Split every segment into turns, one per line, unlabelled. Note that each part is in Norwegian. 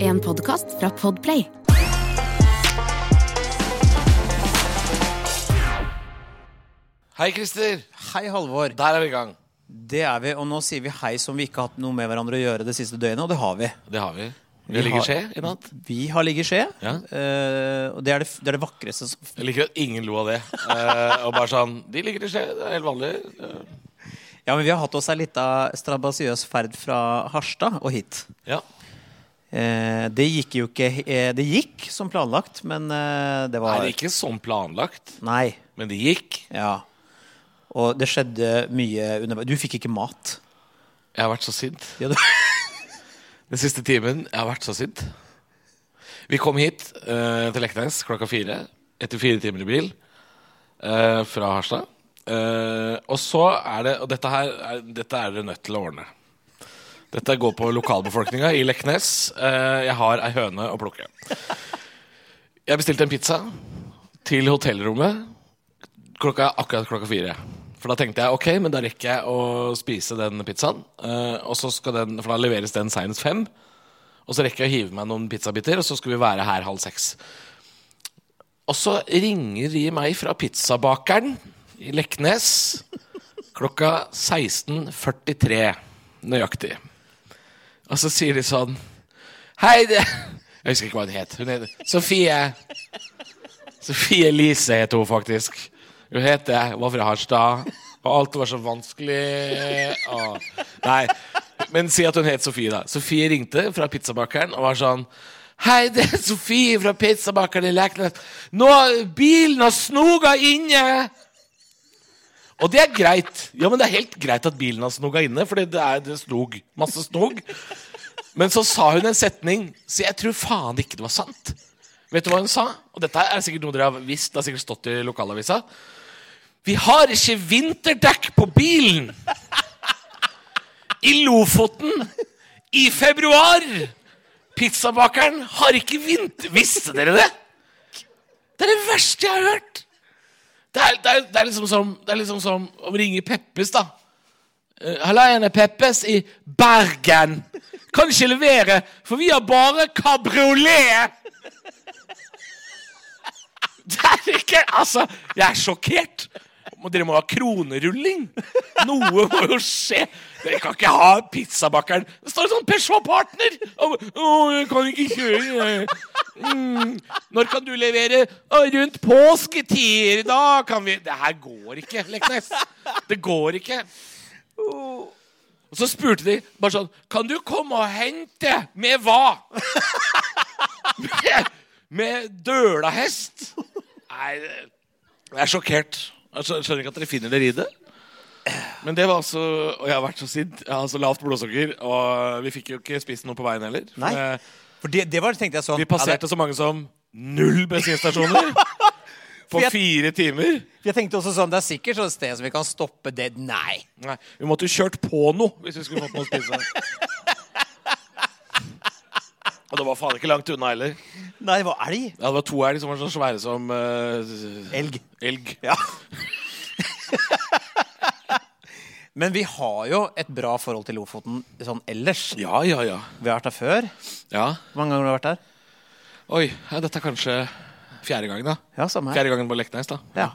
en podkast fra Podplay.
Hei, Christer.
Hei, Halvor.
Der er vi i gang.
Det er vi, og nå sier vi hei som vi ikke har hatt noe med hverandre å gjøre det siste døgnet, og det har vi.
Det har vi.
Vi
Vi ligger
har-
skje i natt.
Vi har ligget i skje,
Ja.
eh, og det er det, f- det er det vakreste som
Jeg liker at ingen lo av det. Eh, og bare sånn De ligger i skje. Det er helt vanlig. Eh,
Ja, men vi har hatt oss ei lita strabasiøs ferd fra Harstad og hit.
ja.
Eh, det gikk jo ikke eh, Det gikk som planlagt, men eh,
Nei,
det var
det er ikke som planlagt,
Nei.
men det gikk.
Ja. Og det skjedde mye underveis. Du fikk ikke mat.
Jeg har vært så sint.
Ja, du...
Den siste timen Jeg har vært så sint. Vi kom hit eh, til Leknes klokka fire. Etter fire timer i bil eh, fra Harstad. Eh, og så er det Og dette her er, dette er dere nødt til å ordne. Dette går på lokalbefolkninga i Leknes. Eh, jeg har ei høne å plukke. Jeg bestilte en pizza til hotellrommet klokka akkurat klokka fire. For da tenkte jeg ok, men da rekker jeg å spise den pizzaen. eh, og så skal den, For da leveres den seinest fem. Og så rekker jeg å hive meg noen pizzabiter, og så skal vi være her halv seks. Og så ringer de meg fra pizzabakeren i Leknes klokka 16.43 nøyaktig. Og så sier de sånn Hei, det Jeg husker ikke hva hun het. Hun het Sofie. Sofie Elise het hun faktisk. Hun het det, var fra Harstad. Og alt var så vanskelig. Og... Nei, men si at hun het Sofie, da. Sofie ringte fra pizzabakeren og var sånn Hei, det er Sofie fra pizzabakeren i Leknes. Nå, bilen har snoga inne! Og det er greit. Ja, men det er helt greit at bilen har snoga inne, for det er det er snog. Masse snog. Men så sa hun en setning, så jeg tror faen ikke det var sant. Vet du hva hun sa? Og dette er sikkert noe dere har visst, det har sikkert stått i lokalavisa. Vi har ikke vinterdekk på bilen! I Lofoten i februar! Pizzabakeren har ikke vinter... Visste dere det? Det er det verste jeg har hørt! Det er, det er, det er, liksom, som, det er liksom som å ringe Peppes, da. Eh, Hallaiene Peppes i Bergen. Kan ikke levere, for vi har bare kabriolet! Det er ikke Altså, jeg er sjokkert. Må- Dere må ha kronerulling. Noe må jo skje. Dere kan ikke ha pizzabakeren. Det står en sånn Peugeot Partner! Og, å, jeg kan ikke kjøre. jeg. Mm. Når kan du levere? Å, rundt påsketider. Da kan vi Det her går ikke, Leknes. Det går ikke. Og så spurte de bare sånn Kan du komme og hente? Med hva? med, med dølahest? Nei, det- jeg er sjokkert. Altså, Jeg skjø- skjønner ikke at dere finner dere i det. Men det var altså Og jeg har vært så sint. Jeg har så lavt blodsukker. Og vi fikk jo ikke spist noe på veien heller.
Nei.
Eh,
For det, det var tenkte jeg sånn
Vi
ja, det-
passerte så mange som null bensinstasjoner på
jeg-
fire timer.
Jeg tenkte også sånn, Det er sikkert sånn et sted som vi kan stoppe det. Nei.
Nei, Vi måtte jo kjørt på noe hvis vi skulle fått noe å spise. Og det var faen ikke langt unna heller.
Nei, det var elg.
Ja, det var to elg som var så svære som eh,
Elg.
elg.
Ja. Men vi har jo et bra forhold til Lofoten sånn ellers.
Ja, ja, ja.
Vi har vært der før.
ja.
Hvor mange ganger har du vært der?
Oi, ja, dette er kanskje fjerde gangen, da.
Ja, samme her.
Fjerde gangen på Leknes, da.
Ja.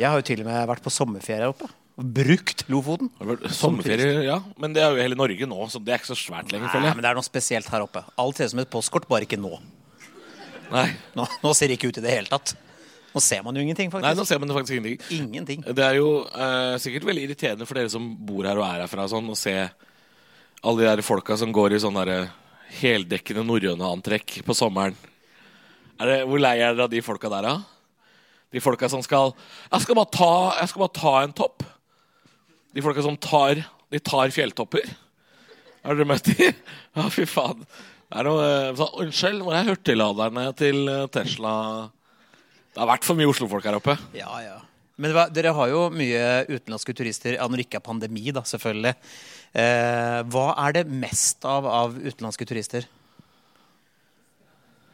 Jeg har jo til og med vært på sommerferie her oppe. Og brukt Lofoten.
Har det vært Sommerferie, ja. Men det er jo hele Norge nå, så det er ikke så svært lenger,
Nei,
føler
men det er noe spesielt her oppe. Alt ser ut som et postkort, bare ikke nå.
jeg. Nei.
Nå, nå ser det ikke ut i det hele tatt. Nå ser man jo ingenting,
Nei,
faktisk.
nå ser man det faktisk ingenting.
Ingenting.
Det er jo eh, sikkert veldig irriterende for dere som bor her og er herfra, sånn, å se alle de der folka som går i sånn derre heldekkende norrøne antrekk på sommeren. Er det, hvor lei er dere av de folka der, da? De folka som skal jeg skal, bare ta, 'Jeg skal bare ta en topp'. De folka som tar De tar fjelltopper. Har dere møtt de? Ja, fy faen. Det er noe eh, sånn, Unnskyld, hvor er hurtigladerne til eh, Tesla? Det har vært for mye Oslo-folk her oppe.
Ja, ja. Men det var, dere har jo mye utenlandske turister, ja, når det ikke er pandemi, da, selvfølgelig. Eh, hva er det mest av av utenlandske turister?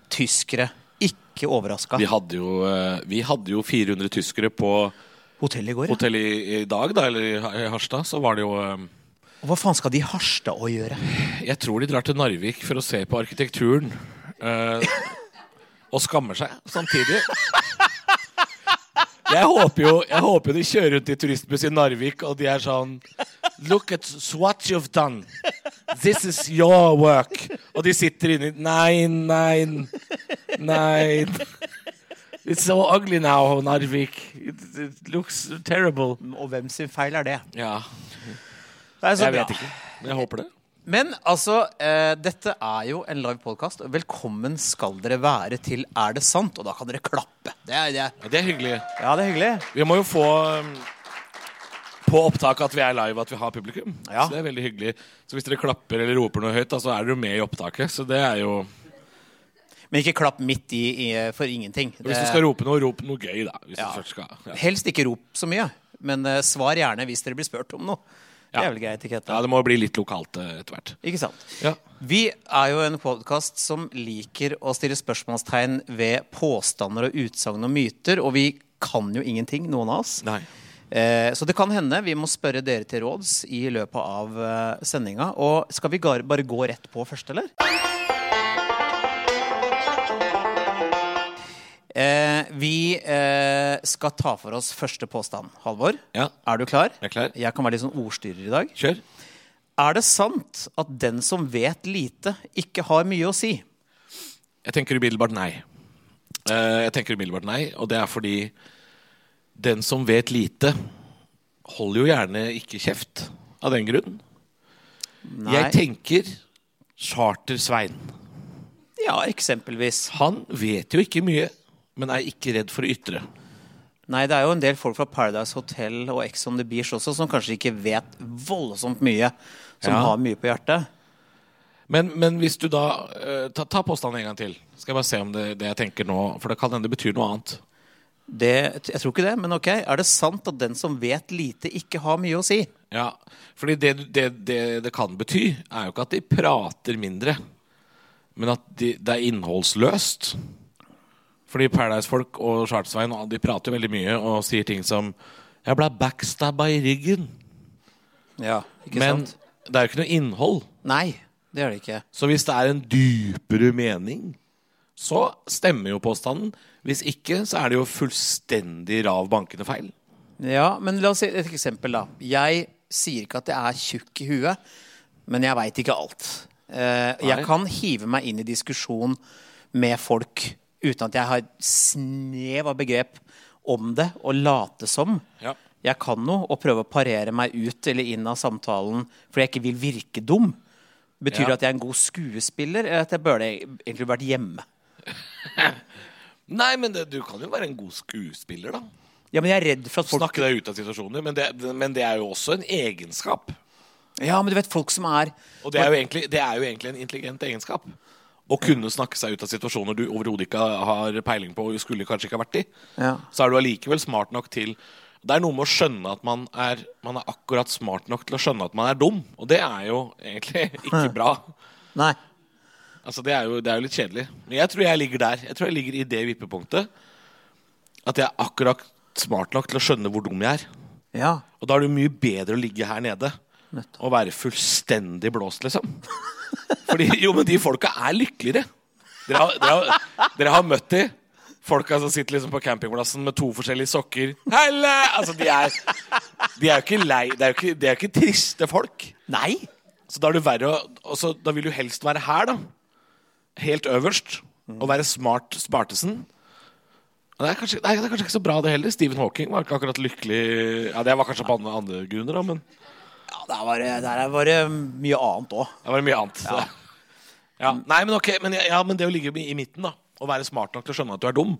Tyskere. Ikke overraska.
Vi hadde, jo, eh, vi hadde jo 400 tyskere på
Hotellet i går, ja.
hotellet i, i dag, da, eller i Ha- i Harstad. Så var det jo eh,
Og hva faen skal de i Harstad å gjøre?
Jeg tror de drar til Narvik for å se på arkitekturen. eh, og skammer seg samtidig. Jeg håper jo jeg håper de kjører rundt i turistbuss i Narvik, og de er sånn Look at what you've done. This is your work. Og de sitter inni Nei, nei, nei. It's so ugly now, Narvik. It, it looks terrible.
Og hvem sin feil er det?
Ja,
det er så
jeg
bra.
vet ikke. Men jeg håper det.
Men altså, eh, dette er jo en live podcast. Velkommen skal dere være til Er det sant? Og da kan dere klappe. Det er, det er,
Ja, det er hyggelig.
ja, det er hyggelig.
Vi må jo få um, på opptak at vi er live, at vi har publikum.
Ja.
Så det er veldig hyggelig. Så hvis dere klapper eller roper noe høyt, da, så er dere jo med i opptaket. Så det er jo
Men ikke klapp midt i, i for ingenting.
Hvis
Det-
du skal rope noe, rop noe gøy, da. Hvis
Ja.
du først skal ja.
Helst ikke rop så mye, men eh, svar gjerne hvis dere blir spurt om noe. Det
Ja.
er vel grei etikette.
ja, det må bli litt lokalt eh, etter hvert.
Ikke sant?
Ja.
Vi er jo en podkast som liker å stille spørsmålstegn ved påstander og utsagn og myter, og vi kan jo ingenting, noen av oss.
Nei.
Eh, så det kan hende vi må spørre dere til råds i løpet av eh, sendinga. Og skal vi gar- bare gå rett på først, eller? Eh, vi eh, skal ta for oss første påstand. Halvor,
Ja.
er du klar?
Jeg er klar.
Jeg kan være litt sånn ordstyrer i dag.
Kjør.
Er det sant at den som vet lite, ikke har mye å si?
Jeg tenker umiddelbart nei. Eh, jeg tenker umiddelbart nei, og det er fordi den som vet lite, holder jo gjerne ikke kjeft av den grunn.
Nei.
Jeg tenker Charter-Svein.
ja, eksempelvis.
Han vet jo ikke mye, men er ikke redd for å ytre.
Nei, det er jo en del folk fra Paradise Hotel og Ex on the Beach også som kanskje ikke vet voldsomt mye, som
Ja.
har mye på hjertet.
Men, men hvis du da eh, Ta, ta påstanden en gang til. Skal jeg bare se om det, det jeg tenker nå For det kan hende det betyr noe annet.
Det, jeg tror ikke det, men ok. Er det sant at den som vet lite, ikke har mye å si?
Ja, fordi det du- det, det det kan bety, er jo ikke at de prater mindre, men at de, det er innholdsløst. Fordi Paradise-folk og Chartersveien og de prater jo veldig mye og sier ting som 'Jeg ble backstabba i ryggen'.
Ja, ikke
Men
sant?
det er jo ikke noe innhold.
Nei, det er det ikke.
Så hvis det er en dypere mening, så stemmer jo påstanden. Hvis ikke, så er det jo fullstendig rav bankende feil.
Ja, men la oss si et eksempel, da. Jeg sier ikke at jeg er tjukk i huet, men jeg veit ikke alt. Eh,
Nei.
jeg kan hive meg inn i diskusjon med folk uten at jeg har snev av begrep om det, og late som.
Ja.
Jeg kan noe, og prøve å parere meg ut eller inn av samtalen fordi jeg ikke vil virke dum. Betyr
Ja.
det at jeg er en god skuespiller, eller at jeg burde egentlig vært hjemme?
Nei, men det, du kan jo være en god skuespiller, da.
Ja, men jeg er redd for at folk
Snakke deg ut av situasjoner. Men det, men det er jo også en egenskap.
Ja, men du vet, folk som er
Og det er jo egentlig, det er jo egentlig en intelligent egenskap. Å kunne snakke seg ut av situasjoner du overhodet ikke har peiling på og skulle kanskje ikke ha vært i.
Ja.
Så er du allikevel smart nok til Det er noe med å skjønne at man er, man er akkurat smart nok til å skjønne at man er dum. Og det er jo egentlig ikke bra.
Nei.
Altså Det er jo, det er jo litt kjedelig. Men jeg tror jeg ligger der. Jeg tror jeg ligger i det vippepunktet. At jeg er akkurat smart nok til å skjønne hvor dum jeg er.
Ja.
Og da er det jo mye bedre å ligge her nede
Nettopp.
og være fullstendig blåst, liksom. Fordi jo, men de folka er lykkeligere. Dere har, dere har, dere har møtt de. Folka som sitter liksom på campingplassen med to forskjellige sokker. Helle! Altså, de er, de er jo ikke lei Det er jo ikke, de er jo ikke triste folk.
Nei.
Så da er det verre å og så, Da vil du helst være her, da. Helt øverst.
Mm.
Og være smart smartesen. Og Det er, kanskje, nei, det er kanskje ikke så bra, det heller. Stephen Hawking var ikke akkurat lykkelig Ja, Det var kanskje på andre, andre grunner, da, men
Ja, der var det, der var det mye annet òg.
det var mye annet. Så. Ja. Nei, men ok, men, ja, ja, men det å ligge i midten, da, og være smart nok til å skjønne at du er dum,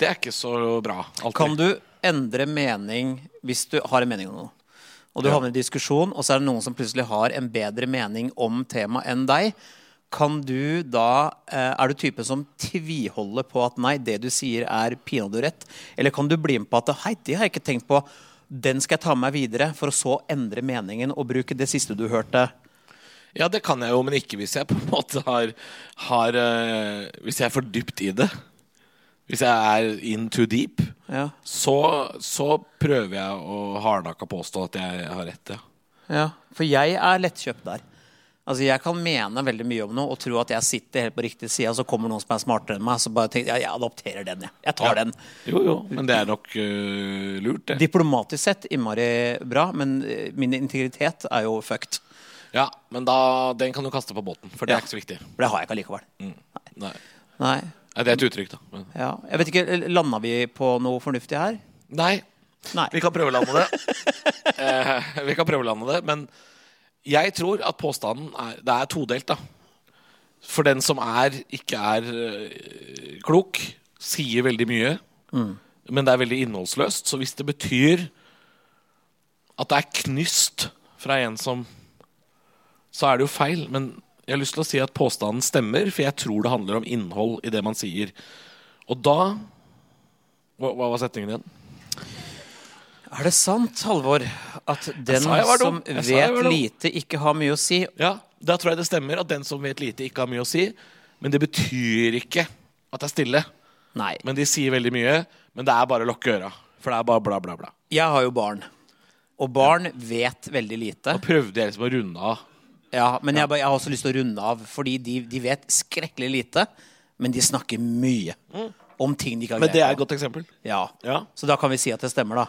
det er ikke så bra. alltid.
Kan du endre mening hvis du har en mening om noe? Og du havner i diskusjon, og så er det noen som plutselig har en bedre mening om temaet enn deg. Kan du da, eh, Er du typen som tviholder på at nei, det du sier er pinadø rett? Eller kan du bli med på at hei, det har jeg ikke tenkt på, den skal jeg ta med meg videre, for å så endre meningen og bruke det siste du hørte?
Ja, det kan jeg jo, men ikke hvis jeg på en måte har, har eh, Hvis jeg er for dypt i det. Hvis jeg er in too deep,
Ja.
så, så prøver jeg å hardnakka påstå at jeg har rett. Ja.
Ja, for jeg er lettkjøpt der. Altså Jeg kan mene veldig mye om noe og tro at jeg sitter helt på riktig side, og så kommer noen som er smartere enn meg, så bare tenker jeg jeg adopterer den. Jeg, jeg tar den.
Jo, jo, men det er nok øh, lurt, det.
Diplomatisk sett innmari bra, men eh, min integritet er jo fucked.
Ja, Men da, den kan du kaste på båten, for det
Ja.
er ikke så viktig.
For det har jeg ikke allikevel.
Mm. Nei.
Nei.
Nei, Det er et uttrykk, da. Men.
Ja. Jeg vet ikke, Landa vi på noe fornuftig her?
Nei,
Nei.
vi kan prøve å lande det. Eh, vi kan prøve å lande det, men jeg tror at påstanden er Det er todelt, da. For den som er, ikke er øh, klok, sier veldig mye, men det er veldig innholdsløst. Så hvis det betyr at det er knyst fra en som så er det jo feil. Men jeg har lyst til å si at påstanden stemmer, for jeg tror det handler om innhold i det man sier. Og da Hva, hva var setningen igjen?
Er det sant, Halvor, at den
sa jeg var
som
dum. Jeg sa jeg
vet
var dum.
lite, ikke har mye å si?
Ja, Da tror jeg det stemmer at den som vet lite, ikke har mye å si. Men det betyr ikke at det er stille.
Nei.
Men de sier veldig mye. Men det er bare å lukke øra. For det er bare bla, bla, bla.
Jeg har jo barn. Og barn vet veldig lite.
Da prøvde jeg liksom å runde av.
Ja, men Jeg, bare- jeg har også lyst til å runde av, fordi de, de vet skrekkelig lite. Men de snakker mye om ting de ikke har
Mm. Men det er
greie
et godt eksempel.
Ja.
Ja.
Så da kan vi si at det stemmer, da.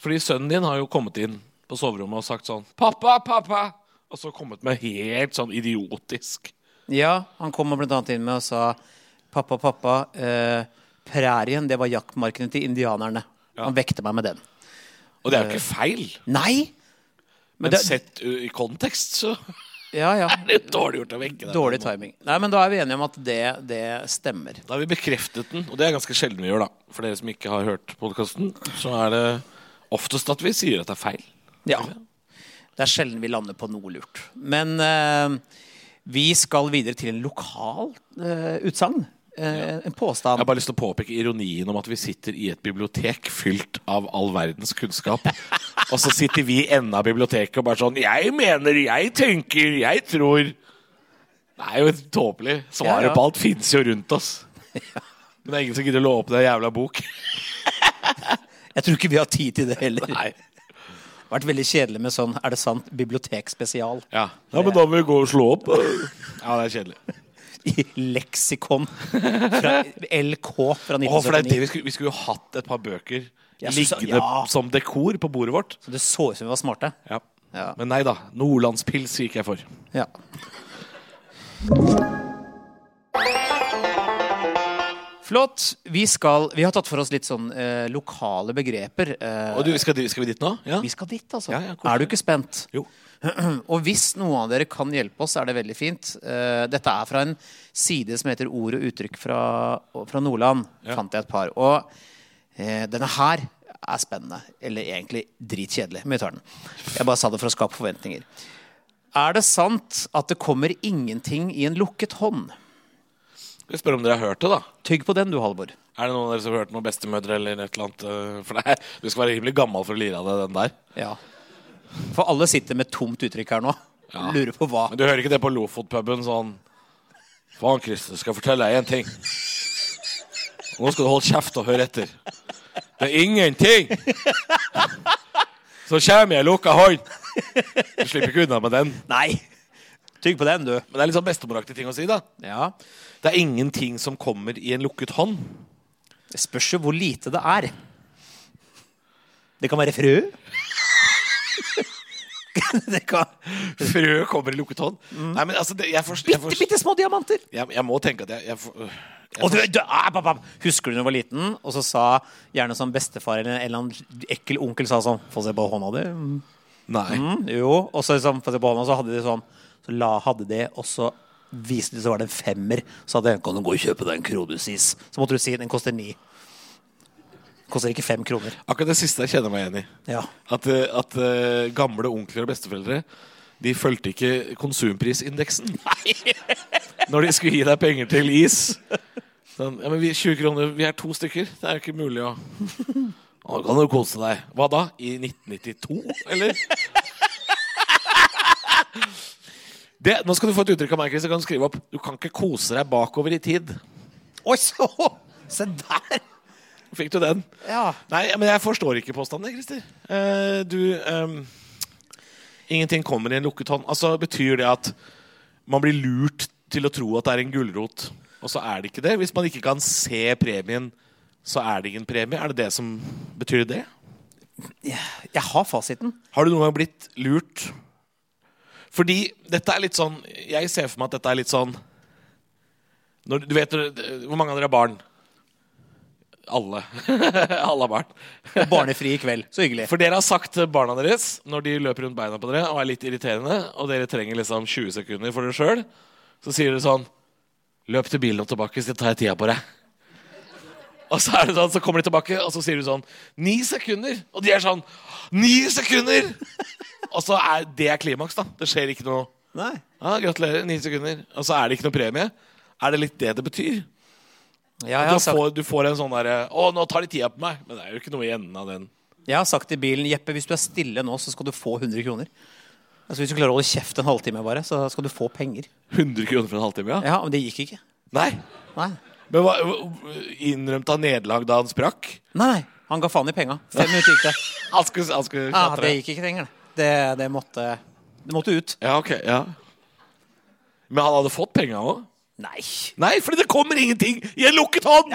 Fordi sønnen din har jo kommet inn på soverommet og sagt sånn 'Pappa, pappa!' Og så kommet med helt sånn idiotisk
Ja, Han kom blant annet inn med og sa Pappa, pappa, eh, prærien, det var jaktmarkene til indianerne. Han vekte meg med den.
Og det er jo ikke feil.
Nei!
Men
Men det-
sett uh, i kontekst så
Ja, ja.
er det jo dårlig gjort å vekke den.
Dårlig timing. Nei, men da er vi enige om at det, det stemmer.
Da har vi bekreftet den, og det er ganske sjelden vi gjør, da. For dere som ikke har hørt podkasten, så er det oftest at vi sier at det er feil.
Ja. Det er sjelden vi lander på noe lurt. Men eh, vi skal videre til en lokal eh, utsagn. Eh, En
Jeg
påstand.
har bare lyst til å påpeke ironien om at vi sitter i et bibliotek fylt av all verdens kunnskap. og så sitter vi i enden av biblioteket og bare sånn 'Jeg mener, jeg tenker, jeg tror' Det er jo tåpelig. Svaret
Ja, ja.
på alt fins jo rundt oss. Men det er ingen som gidder å åpne en jævla bok.
Jeg tror ikke vi har tid til det heller. Det
Nei.
har vært veldig kjedelig med sånn Er det sant? bibliotekspesial.
Ja. men da må vi gå og slå opp. Ja, det er kjedelig.
I leksikon fra LK fra
Å, for det er det
1979.
vi skulle, vi skulle jo hatt et par bøker
Ja, så- så-
liggende
ja.
som dekor på bordet vårt.
Så det så ut som vi var smarte.
Ja.
Ja.
Men nei da. Nordlandspils gikk jeg for.
Ja. Flott. Vi, skal, vi har tatt for oss litt sånn eh, lokale begreper. eh,
Og du, skal, de- skal vi dit nå? Ja.
Vi skal dit, altså.
Ja, ja, koselig.
er du ikke spent?
Jo.
Og hvis noen av dere kan hjelpe oss, er det veldig fint. Eh, dette er fra en side som heter Ord og uttrykk fra, fra Nordland. Fant jeg et par. Og eh, denne her er spennende. Eller egentlig dritkjedelig. Men vi tar den. Jeg bare sa det for å skape forventninger. Er det sant at det kommer ingenting i en lukket hånd?
Vi spør om dere har hørt det, da.
Tygg på den, du, Halvor.
Er det noen av dere som har hørt noen bestemødre eller et eller annet? eh, For det er, du skal være rimelig gammel for å lire av deg den der.
Ja. For alle sitter med et tomt uttrykk her nå. Lurer på hva.
Men du hører ikke det på Lofotpuben sånn Faen, Christer, skal jeg fortelle deg én ting. Nå skal du holde kjeft og høre etter. Det er ingenting! Så kommer jeg lukka hånd! Du slipper ikke unna med den.
Nei! Tygg på den, du.
Men det er litt sånn bestemoraktig ting å si, da.
Ja.
Det er ingenting som kommer i en lukket hånd.
Det spørs jo hvor lite det er. Det kan være frø. det kan
Frø kommer i lukket hånd. Nei, men altså, det, jeg forstår jeg,
Bitte,
forst-
bitte små diamanter!
jeg, jeg må tenke at jeg, jeg, for- øh, jeg
Og du, du, ah, bam, bam. Husker du da du var liten, og så sa gjerne sånn bestefar eller en eller annen ekkel onkel sa sånn Få se på hånda di. Mm,
Nei.
jo. Og så liksom, få se på hånda, så hadde de sånn Så la, hadde de, og så viste de så var det en femmer. Så hadde en, kan du gå og kjøpe deg en kronesis. Så måtte du si den koster ni. Koster ikke fem kroner.
Akkurat det siste jeg kjenner meg igjen i.
Ja.
At, eh, at eh, gamle onkler og besteforeldre de fulgte ikke konsumprisindeksen. Når de skulle gi deg penger til is. Sånn, ja, men vi, 20 kroner, vi er to stykker. Det er jo ikke mulig å Nå kan du kose deg. Hva da? I 1992, eller? Det, nå skal du få et uttrykk av meg, Chris. Jeg kan skrive opp. Du kan ikke kose deg bakover i tid.
Oi, så! Se der!
Fikk du den?
Ja.
Nei, men jeg forstår ikke påstandene, Christer. Eh, du ehm, Ingenting kommer i en lukket hånd. Altså, Betyr det at man blir lurt til å tro at det er en gulrot, og så er det ikke det? Hvis man ikke kan se premien, så er det ingen premie? Er det det som betyr det?
Jeg har fasiten.
Har du noen gang blitt lurt? Fordi dette er litt sånn Jeg ser for meg at dette er litt sånn når, Du vet Hvor mange av dere er barn? Alle. Alle er barn.
Barnefri i kveld. Så hyggelig.
For dere har sagt til barna deres når de løper rundt beina på dere og er litt irriterende, og dere trenger liksom 20 sekunder for dere sjøl, så sier dere sånn Løp til bilen og tilbake, så tar jeg tida på deg. Og så, er det sånn, så kommer de tilbake, og så sier du sånn Ni sekunder! Og de er sånn Ni sekunder! Og så er det er klimaks, da. Det skjer ikke noe
Nei.
ja, Gratulerer, ni sekunder. Og så er det ikke noe premie. Er det litt det det betyr?
Ja, jeg,
Du
har sagt,
får, du får en sånn derre Å, nå tar de tida på meg! Men det er jo ikke noe i enden av den.
jeg har sagt til bilen Jeppe, hvis du er stille nå, så skal du få 100 kroner. Altså Hvis du klarer å holde kjeft en halvtime, bare, så skal du få penger.
100 kroner for en halvtime, ja?
Ja, Men det gikk ikke.
Nei.
Nei.
Men hva, hva- innrømte han nederlag da han sprakk?
Nei, nei. Han ga faen i penga. Fem minutter gikk det.
Han skulle, han skulle
Ah,
klatre.
det gikk ikke lenger, det. Det, det, måtte, det måtte ut.
Ja, ok, ja. Men han hadde fått penga òg?
Nei.
Nei, fordi det kommer ingenting i en lukket hånd!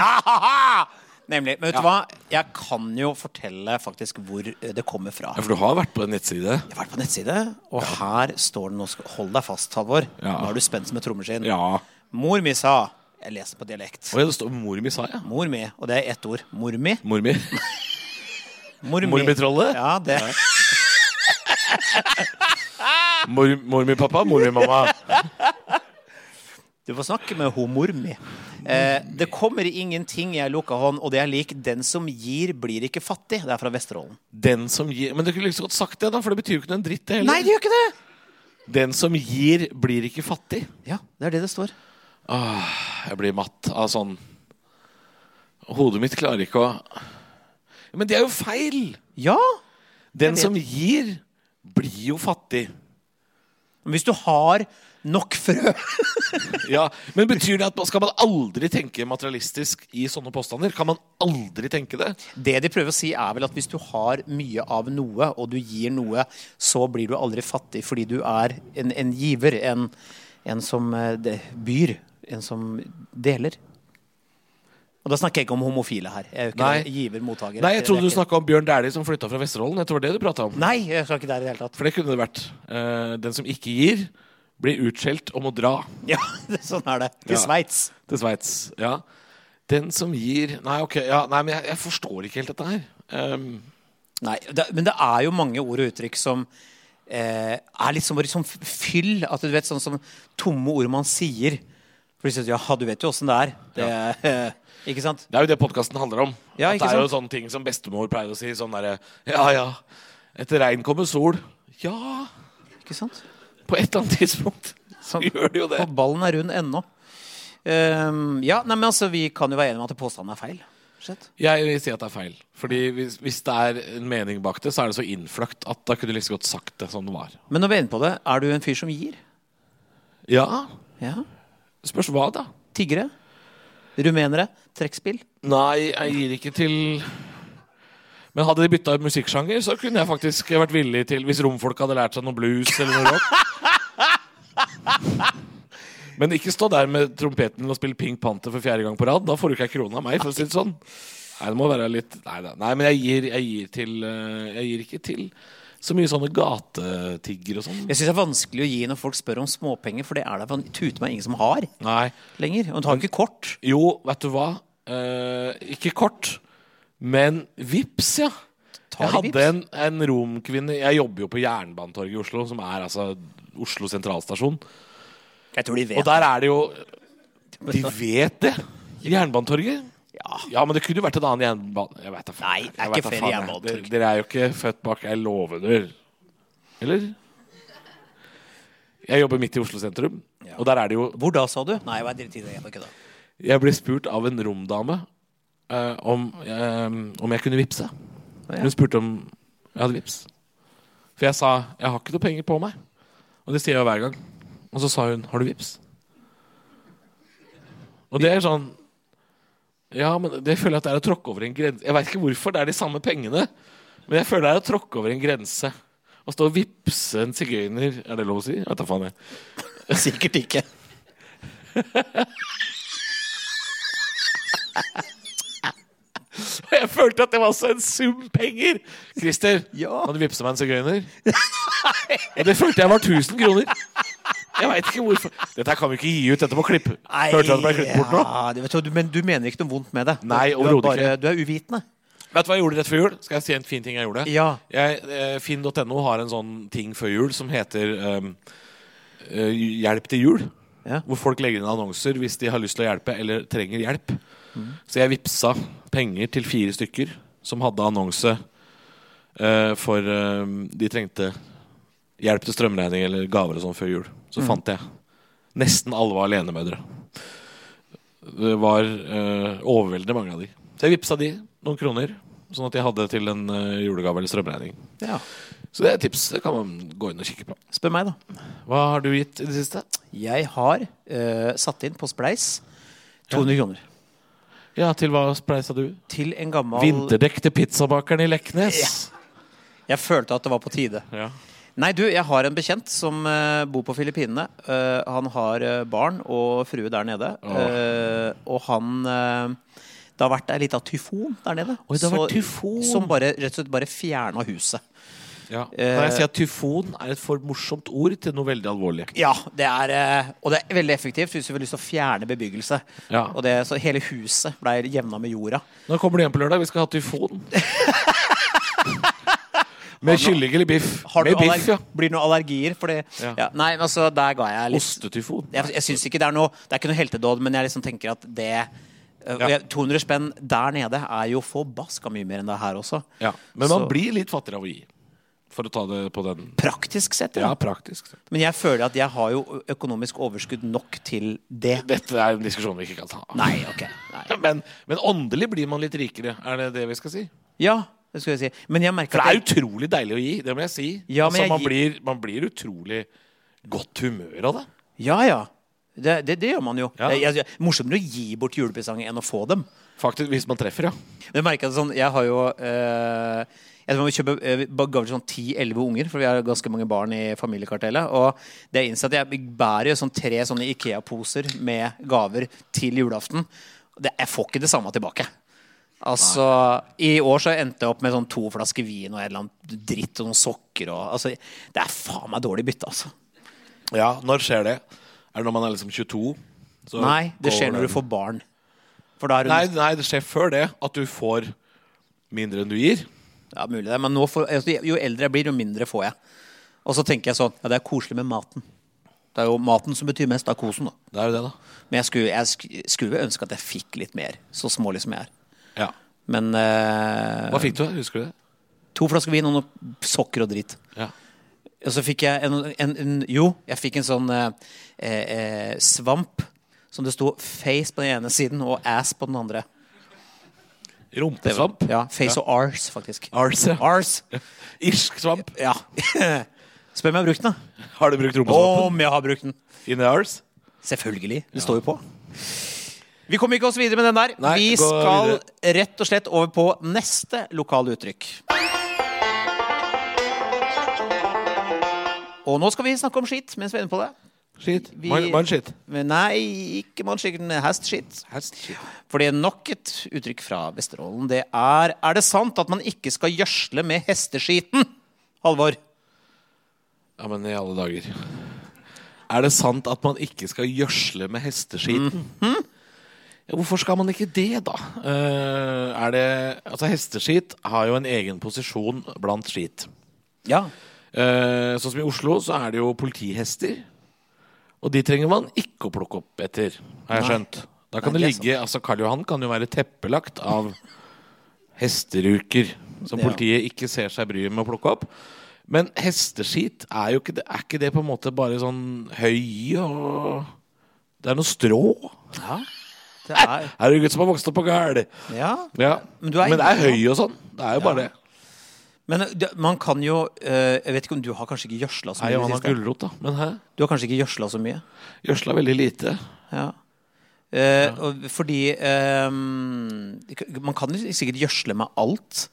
Nemlig. Men vet du hva? Jeg kan jo fortelle faktisk hvor eh, det kommer fra.
Ja, for du har vært på en nettside?
Jeg har vært på nettside, og her står det noe Hold deg fast, Halvor.
Ja.
Nå er du spent som et trommeskinn.
Ja.
Mor mi sa Jeg leser på dialekt.
Oi, det står mor mi sa, ja.
Mor mi, og det er ett ord. Mor mi.
Mor mi.
Mor mi.
Mormitrollet?
Ja, det.
Mor, mor mi pappa, mor mi mamma.
Du får snakke med ho mor mi. Eh, det kommer ingenting i ei lukka hånd, og det er lik 'den som gir, blir ikke fattig'. Det er fra Vesterålen.
Den som gir Men du kunne liksom godt sagt det, da, for det betyr jo ikke noe en dritt, det heller.
Nei, det gjør ikke det!
Den som gir, blir ikke fattig.
Ja, det er det det står.
Jeg blir matt av sånn Hodet mitt klarer ikke å Men det er jo feil!
Ja!
Den
vet.
som gir, blir jo fattig.
Men hvis du har nok frø
Ja, Men betyr det at man- skal man aldri tenke materialistisk i sånne påstander? Kan man aldri tenke det?
Det de prøver å si, er vel at hvis du har mye av noe, og du gir noe, så blir du aldri fattig fordi du er en, en giver, en, en som eh, de- byr, en som deler. Og da snakker jeg ikke om homofile her. Jeg er jo ikke
Nei.
en giver, mottaker.
Nei, jeg trodde du
Det er ikke-
snakka om Bjørn Dæhlie som flytta fra Vesterålen. Jeg tror det var det du prata om.
Nei, jeg skal ikke der i det hele tatt.
For det kunne det vært. Eh, Den som ikke gir, blir utskjelt og må dra
Ja, det, sånn er det. Til
Ja.
Sveits.
til Sveits. Ja. Den som gir Nei, ok. Ja, nei, men jeg, jeg forstår ikke helt dette her. Ehm,
Nei, det, men det er jo mange ord og uttrykk som eh, er litt som bare sånn f- fyll. At du vet, sånn som tomme ord man sier. For du sier, ja, du vet jo åssen det er. Det, eh, ikke sant?
Det er jo det podkasten handler om.
Ja,
at
ikke
det er jo sånne ting som bestemor pleier å si. Sånn derre Ja ja, etter regn kommer sol. Ja,
Ikke sant?
på et eller annet tidspunkt så
Sånn.
gjør det jo det.
Og ballen er rund ennå. Ehm, ja, nei, men altså, vi kan jo være enige om at påstanden er feil. Shit.
Jeg vil si at det er feil. Fordi hvis, hvis det er en mening bak det, så er det så innfløkt at da kunne du like så godt sagt det som det var.
Men når vi er inne på det, er du en fyr som gir?
Ja,
Ja.
spørs hva, da.
Tiggere? Rumenere? Trekkspill?
Nei, jeg gir ikke til Men hadde de bytta musikksjanger, så kunne jeg faktisk vært villig til Hvis romfolk hadde lært seg noe blues eller noe rock. Men ikke stå der med trompeten og spille Pink Panther for fjerde gang på rad. Da får du ikke ei krone av meg, for å si det sånn. Nei, det må være litt Nei, nei, nei men jeg gir, jeg gir til eh, Jeg gir ikke til så mye sånne gatetigger og sånn.
Jeg syns det er vanskelig å gi når folk spør om småpenger, for det er det van- tute meg ingen som har
Nei.
lenger. Og du har jo ikke kort.
Jo, vet du hva? Eh, ikke kort, men vips, ja. Jeg
Tar de
hadde en, en romkvinne Jeg jobber jo på Jernbanetorget i Oslo, som er altså Oslo sentralstasjon.
Jeg tror de vet.
Og der er det jo De vet det! Jernbanetorget.
Ja.
Ja, men det kunne jo vært en annen jernbane... Jeg vet da faen. Jeg
Nei, det er
vet
ikke
da
flere
faen, jeg.
jernbanetorg.
Dere- Dere er jo ikke født bak ei låvedør. Eller? Jeg jobber midt i Oslo sentrum, og der er det jo
Hvor da, sa du? Nei, jeg var dritt i det. Jeg var ikke da.
Jeg ble spurt av en romdame eh, om, eh, om jeg kunne vippse.
ja.
Hun spurte om jeg hadde vips. For jeg sa 'jeg har ikke noe penger på meg'. Og det sier jeg jo hver gang. Og så sa hun 'har du vips'? Og det er sånn Ja, men det føler jeg at det er å tråkke over en grense. Jeg veit ikke hvorfor, det er de samme pengene. Men jeg føler det er å tråkke over en grense. Å stå og vippse en sigøyner, er det lov å si? Jeg vet da faen, jeg.
Sikkert ikke.
Jeg følte at det var så en sum penger! Christer,
Ja.
kan du vippse meg en sigøyner? Ja, det følte jeg var 1000 kroner. Jeg veit ikke hvorfor. Dette her kan vi ikke gi ut. Dette må klippe. Hørte du at det ble klippet bort nå?
Ja, det vet du, men du mener ikke noe vondt med det?
Nei,
Du er
overhodet
bare- Du er uvitende.
Vet du hva jeg gjorde rett før jul? Skal jeg si en fin ting jeg gjorde?
Ja.
Jeg, eh, Finn.no har en sånn ting før jul som heter ehm, eh, Hjelp til jul.
Ja.
Hvor folk legger inn annonser hvis de har lyst til å hjelpe eller trenger hjelp. Så jeg vippsa penger til fire stykker som hadde annonse eh, for ehm, de trengte hjelp til strømregning eller gaver og sånn før jul. Så fant jeg. Nesten alle var alenemødre. Det var eh, overveldende mange av de. Så jeg vippsa de noen kroner, sånn at jeg hadde til en eh, julegave eller strømregning.
Ja.
Så det er et tips. Det kan man gå inn og kikke på.
Spør meg, da.
Hva har du gitt i det siste?
Jeg har eh, satt inn på Spleis 200 kroner
Ja, til hva spleisa du?
til en gammel
Vinterdekk til pizzabakeren i Leknes.
Jeg følte at det var på tide.
Ja.
Nei, du, jeg har en bekjent som eh, bor på Filippinene. Eh, han har eh, barn og frue der nede. Eh, og han eh, Det har vært ei lita tyfon der nede.
Oi, det har vært tyfon.
Som bare, rett og slett bare fjerna huset.
Ja.
Eh,
Når jeg sier at tyfon er et for morsomt ord til noe veldig alvorlig.
Ja, det er, eh, og det er veldig effektivt hvis du har lyst til å fjerne bebyggelse.
Ja.
Og det, så hele huset ble jevna med jorda.
Når kommer du hjem på lørdag? Vi skal ha tyfon. Med kylling eller biff?
Har du
Med biff,
allerg-
ja.
Blir det noen allergier? Fordi, ja.
Ja.
nei, men altså, der ga jeg litt
Ostetyfon.
Jeg, jeg syns ikke det er noe Det er ikke noe heltedåd, men jeg liksom tenker at det øh, og jeg- 200 spenn der nede er jo forbaska mye mer enn det er her også.
Ja. Men man
Så-
blir litt fattigere av å gi. For å ta det på den
Praktisk sett, ja.
Ja, praktisk.
Men jeg føler at jeg har jo økonomisk overskudd nok til det.
Dette er en diskusjon vi ikke kan ta.
Nei, ok. Nei.
Men, men åndelig blir man litt rikere, er det det vi skal si?
Ja, det skulle jeg si. Men jeg merker
For det
at
er
jeg,
utrolig deilig å gi, det må jeg si.
Ja,
altså,
men jeg
man,
gir-
blir, man blir utrolig godt humør av det.
Ja, ja. Det, det, det gjør man jo.
Ja.
Jeg, jeg, morsommere å gi bort julepresanger enn å få dem.
Faktisk, hvis man treffer, ja.
Men jeg merker at sånn, jeg har jo eh, Jeg må kjøpe eh, vi ga vel sånn 10-11 unger, for vi har ganske mange barn i familiekartellet. Og det jeg innser at jeg bærer jo sånn tre sånne Ikea-poser med gaver til julaften. Det, jeg får ikke det samme tilbake. Altså, I år så endte jeg opp med sånn to flasker vin og en eller annen dritt og noen sokker. Og, altså, det er faen meg dårlig bytte, altså.
Ja, Når skjer det? Er det når man er liksom 22? Så
Nei, det
går
skjer når du får barn. For da er liksom hun
nei, nei, det skjer før det. At du får mindre enn du gir.
Ja, mulig det. Men nå får, altså, jo eldre jeg blir, jo mindre får jeg. Og så tenker jeg sånn Ja, det er koselig med maten. Det er jo maten som betyr mest. Det er kosen, da.
Det er jo det, da.
Men jeg skulle, jeg sk- skulle ønske at jeg fikk litt mer. Så smålig som jeg er.
Ja.
Men eh,
Hva fikk du? Husker du det?
to flasker vin og noe sokker og dritt.
Ja.
Og så fikk jeg en, en, en Jo, jeg fikk en sånn eh, eh, svamp som det sto 'face' på den ene siden og 'ass' på den andre.
Rumpesvamp?
Ja, Face og 'ars', faktisk.
Arse.
Ars.
Irsk svamp.
Ja. Spør meg om jeg har brukt den, da.
Har du brukt rumpesvampen?
Om jeg har brukt den.
Inni ars?
Selvfølgelig. Det står jo på. Vi kom ikke oss videre med den der.
Nei,
vi
gå
skal rett og slett over på neste lokale uttrykk. Og nå skal vi snakke om skitt mens vi er inne på det.
Shit.
Vi-
Man, man shit.
Men nei, ikke mannskikken hestskitt.
Hast shit.
Fordi nok et uttrykk fra Vesterålen, det er Er det sant at man ikke skal gjødsle med hesteskiten? Halvor.
Ja, men i alle dager. Er det sant at man ikke skal gjødsle med hesteskiten? Ja, Hvorfor skal man ikke det, da? Eh, er det Altså, hesteskit har jo en egen posisjon blant skit.
Ja.
Eh, sånn som i Oslo, så er det jo politihester. Og de trenger man ikke å plukke opp etter, har jeg
Nei.
skjønt. Da kan
Nei,
det
det er
ligge Altså, Karl Johan kan jo være teppelagt av hesteruker som
Ja.
politiet ikke ser seg bryet med å plukke opp. Men hesteskit er jo ikke det Er ikke det på en måte bare sånn høy og Det er noe strå.
ja. Det er
Her er det en gutt som har vokst opp på gard.
Ja.
Ja. Men,
Men du er
det er
inne på
høy og sånn. Det er jo bare det.
Men det, man kan jo eh, Jeg vet ikke om du har kanskje ikke gjødsla så
Nei,
mye? i
han
det
har
siste.
gulrot, da. Men hæ?
Du har kanskje ikke gjødsla så mye?
Gjødsla veldig lite.
Ja. Eh, og fordi eh, Man kan jo sikkert gjødsle med alt.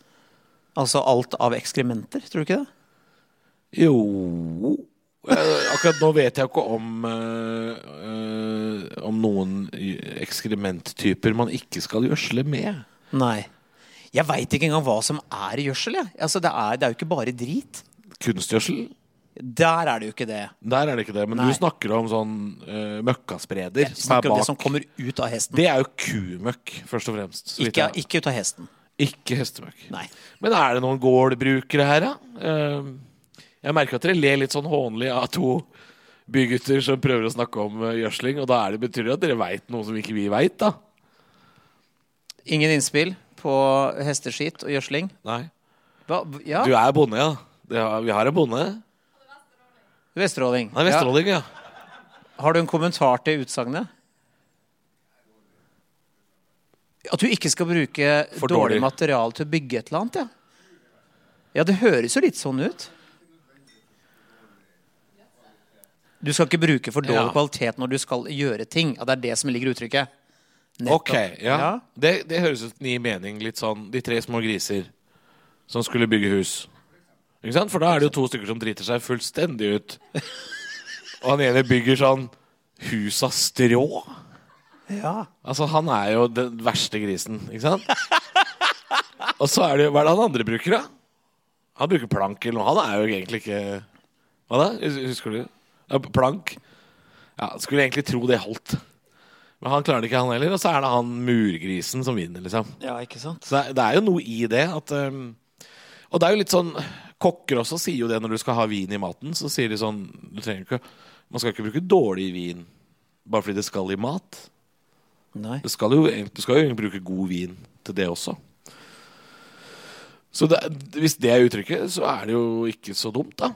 Altså alt av ekskrementer, tror du ikke det?
Jo Eh, Akkurat nå vet jeg jo ikke om eh, eh, Om noen ekskrementtyper man ikke skal gjødsle med.
Nei. Jeg veit ikke engang hva som er gjødsel. Jeg. Altså, det, er, det er jo ikke bare drit.
Kunstgjødsel?
Der er det jo ikke det.
Der er det ikke det. Men
Nei.
du snakker om sånn eh, møkkaspreder.
Jeg
Som er
snakker om
bak.
det som kommer ut av hesten.
Det er jo kumøkk, først og fremst. så vidt
Ikke,
jeg-
ikke ut av hesten.
ikke hestemøkk.
Nei.
Men er det noen gårdbrukere her, da? Eh, Jeg merker at dere ler litt sånn hånlig av to bygutter som prøver å snakke om eh, gjødsling, og da er det betyr det at dere veit noe som ikke vi veit, da?
Ingen innspill på hesteskit og gjødsling?
Nei.
Hva? Ja,
Du er bonde, ja. Det har, vi har en bonde.
Vesteråling.
Han er vesteråling, ja.
Ja. Har du en kommentar til utsagnet? At du ikke skal bruke
For
dårlig
dårlig.
material til å bygge et eller annet, ja. Ja, det høres jo litt sånn ut. Du skal ikke bruke for dårlig
Ja.
kvalitet når du skal gjøre ting. Ja, det er det som ligger i uttrykket. Nettopp.
Ok, ja. Det, det høres ut som det gir mening. Litt sånn De tre små griser som skulle bygge hus. Ikke sant? For da er det jo to stykker som driter seg fullstendig ut. Og han ene bygger sånn hus av strå.
ja.
Altså, han er jo den verste grisen, ikke sant? Og så er det jo Hva er det han andre bruker, da? Han bruker plank eller noe. Han er jo egentlig ikke Hva da? Hus- Husker du? Ja, plank. Ja, skulle egentlig tro det holdt. Men han klarer det ikke, han heller. Og så er det han murgrisen som vinner, liksom.
Ja, ikke sant?
Så det er, det er jo noe i det at um, Og det er jo litt sånn Kokker også sier jo det når du skal ha vin i maten. Så sier de sånn Du trenger ikke Man skal ikke bruke dårlig vin bare fordi det skal i mat.
Nei.
Du skal jo, egent- du skal jo egentlig bruke god vin til det også. Så det, hvis det er uttrykket, så er det jo ikke så dumt, da.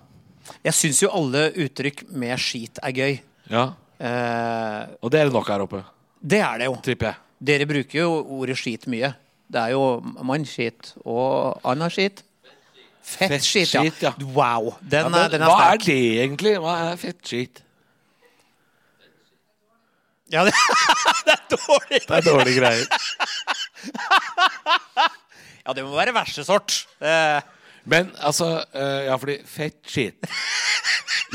Jeg syns jo alle uttrykk med skit er gøy.
Ja,
Eh,
Og det er det nok her oppe,
det er det jo.
tipper jeg.
Dere bruker jo ordet skit mye. Det er jo mannskit og annen skit. Fett skit, ja.
Fettskit, ja.
Wow. Den,
Men
er, den er
hva er
sterk.
det egentlig? Hva er fettskitt?
Ja, det, det er dårlig.
Det er dårlige greier.
Ja, det må være verste sort. Eh,
Men altså eh, Ja, fordi fett shit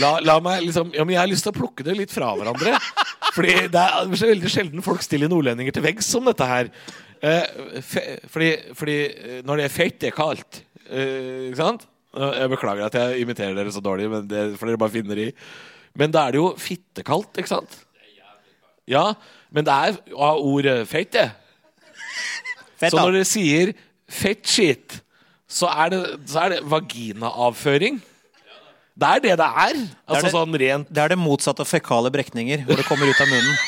la, la meg liksom Ja, men jeg har lyst til å plukke det litt fra hverandre. Fordi det er så veldig sjelden folk stiller nordlendinger til veggs om dette her. Eh, fe, fordi, fordi eh, når det er fett, det er kaldt. Eh, ikke sant? Eh, Jeg beklager at jeg imiterer dere så dårlig, men det får dere bare finne i. Men da er det jo fittekaldt, ikke sant? Ja, men det er av ordet fett, det.
fett,
Så når
da.
dere sier fett shit, så er det, så er det vaginaavføring. Det er det det er. Altså
det-
sånn rent
Det er det motsatte av fekale brekninger, hvor det kommer ut av munnen.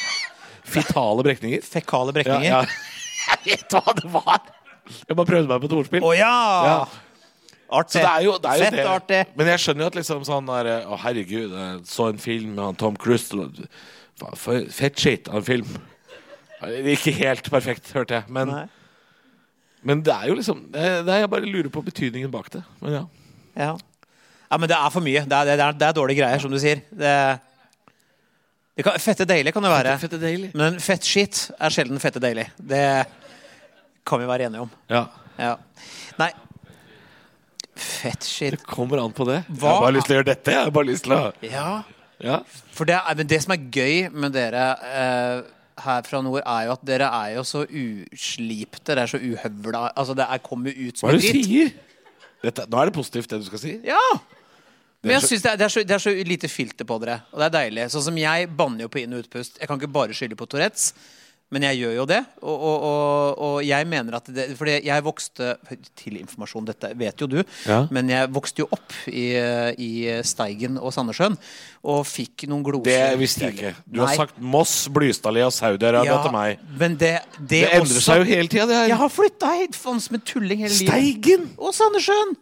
fetale brekninger.
Fekale
Ja,
brekninger.
ja. Jeg vet hva det var! Jeg bare prøvde meg på et ordspill.
Å ja!
Ja.
Art
Så det er jo, det er jo
Fett
det.
art, det.
Men jeg skjønner jo at liksom sånn der Å, herregud, jeg så en film med han Tom Cruise og- fa- for- Fett shit av en film. Ikke helt perfekt, hørte jeg. Men,
Nei.
men det er jo liksom det er, det er- Jeg bare lurer på betydningen bak det. Men ja.
Ja. ja, men det er for mye. Det er, det er, det er dårlige greier, som du sier. Det, det kan, fette deilig kan det være.
Fette deilig.
Men fett skitt er sjelden fette deilig. Det kan vi være enige om.
Ja.
Ja. Nei Fett skitt
Det kommer an på det. Jeg
Hva
har bare lyst til å gjøre dette. Jeg har bare lyst til å
Ja.
ja.
For det, er, men det som er gøy med dere eh, her fra nord, er jo at dere er jo så uslipte. Dere er så uhøvla. Altså, det er, kommer ut som
Hva er
en
det du
dritt.
sier? Dette, nå er det positivt, det du skal si.
Ja! Men jeg synes det, er, det, er så, det er så lite filter på dere, og det er deilig. Sånn som jeg banner jo på inn- og utpust. Jeg kan ikke bare skylde på Tourettes, men jeg gjør jo det. Og, og, og, og jeg mener at det Fordi jeg vokste Til informasjon, dette vet jo du,
Ja.
men jeg vokste jo opp i, i Steigen og Sandnessjøen og fikk noen gloser.
Det visste jeg ikke. Du har
Nei.
sagt Moss, Blystadlia og Saudi-Arabia
Ja,
til meg.
Men det, det,
Det endrer seg jo hele tida, det her.
Jeg har flytta hit faen som en tulling hele livet.
Steigen!
Og Sandnessjøen!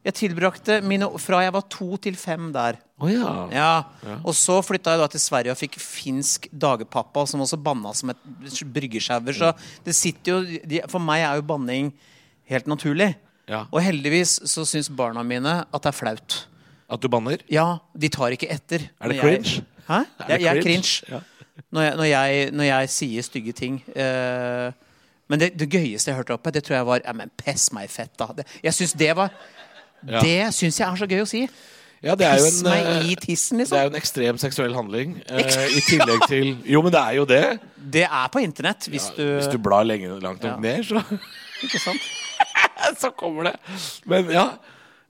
Jeg tilbrakte mine fra jeg var to til fem der.
Å ja.
Ja. Og så flytta jeg da til Sverige og fikk finsk dagepappa, som også banna som et bryggesjauer. Så det sitter jo de, For meg er jo banning helt naturlig.
Ja.
Og heldigvis så syns barna mine at det er flaut.
At du banner?
Ja, de tar ikke etter.
Er det
når jeg-
cringe?
Hæ?
det
jeg, jeg er
cringe?
cringe.
Ja.
Når, jeg, når, jeg, når jeg sier stygge ting. eh, men det, det gøyeste jeg hørte oppe, det tror jeg var ja, men Pess meg fett, da. Det, jeg syns det var
Ja.
Det syns jeg er så gøy å si.
Ja, det er jo
Piss
en,
meg i
eh,
tissen,
det er
liksom.
jo en ekstrem seksuell handling. eh, I tillegg til Jo, men det er jo det.
Det er på internett, hvis
Ja,
du,
Hvis du blar lenge langt nok
Ja.
ned, så
Ikke sant?
så kommer det. Men ja.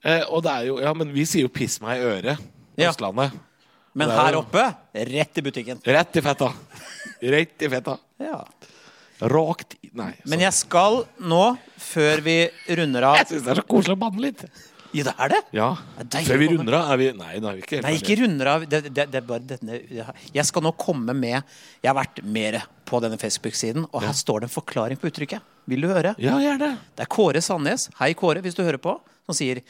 Eh, og det er jo Ja, men vi sier jo 'piss meg i øret' på
Ja.
Østlandet.
Men
Det er
her
jo-
oppe, rett i butikken.
Rett i fetta. Rett i fetta.
Ja.
Rakt i Nei. sånn.
Men jeg skal nå, før vi runder
jeg
av
syns det er så koselig å banne litt.
Ja, det er det!
Ja.
Det er deilig
Før vi
å banne.
runder av, er vi Nei, da er vi ikke helt
Nei, ikke
ferdige.
runder av. Det, det, det er bare denne, jeg skal nå komme med Jeg har vært mer på denne Facebook-siden, og her står det en forklaring på uttrykket. Vil du høre?
Ja, gjerne.
Det er Kåre Sandnes, hei Kåre, hvis du hører på, som sier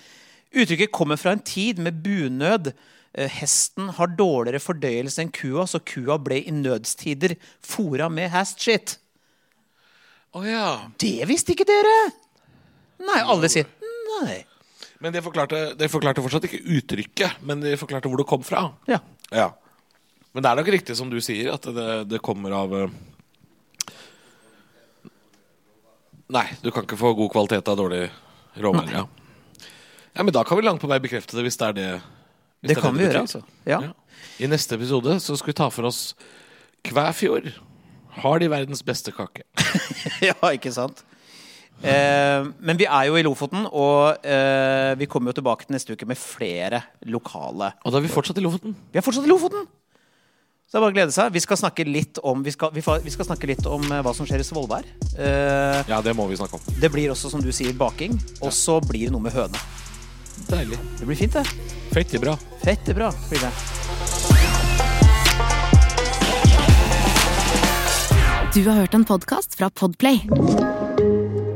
Uttrykket kommer fra en tid med bunød. Eh, Hesten har dårligere fordøyelse enn kua, så kua ble i nødstider fôra med hastshit.
Å ja.
Det visste ikke dere! Nei, alle sier nei.
Men de forklarte, de forklarte fortsatt ikke uttrykket, men de forklarte hvor det kom fra.
Ja.
Ja. Men det er nok riktig som du sier, at det, det kommer av eh, Nei, du kan ikke få god kvalitet av dårlig råvarer. Ja. ja, men da kan vi langt på vei bekrefte det, hvis det er det. hvis
Det kan vi
betyr.
gjøre, altså. Ja.
Ja. I neste episode så skal vi ta for oss Kvæfjord. Har de verdens beste kake?
ja, ikke sant? Eh, men vi er jo i Lofoten, og eh, vi kommer jo tilbake til neste uke med flere lokale
Og da er vi fortsatt i Lofoten.
Vi er fortsatt i Lofoten! Så det er bare å glede seg. Vi skal snakke litt om, vi skal, vi fa- vi skal snakke litt om eh, hva som skjer i Svolvær. Eh,
Ja, det må vi snakke om.
det blir også, som du sier, baking. Og så blir det noe med høne.
Deilig.
Det blir fint, det.
Fette bra.
Fette bra blir det.
Du har hørt en podcast fra Podplay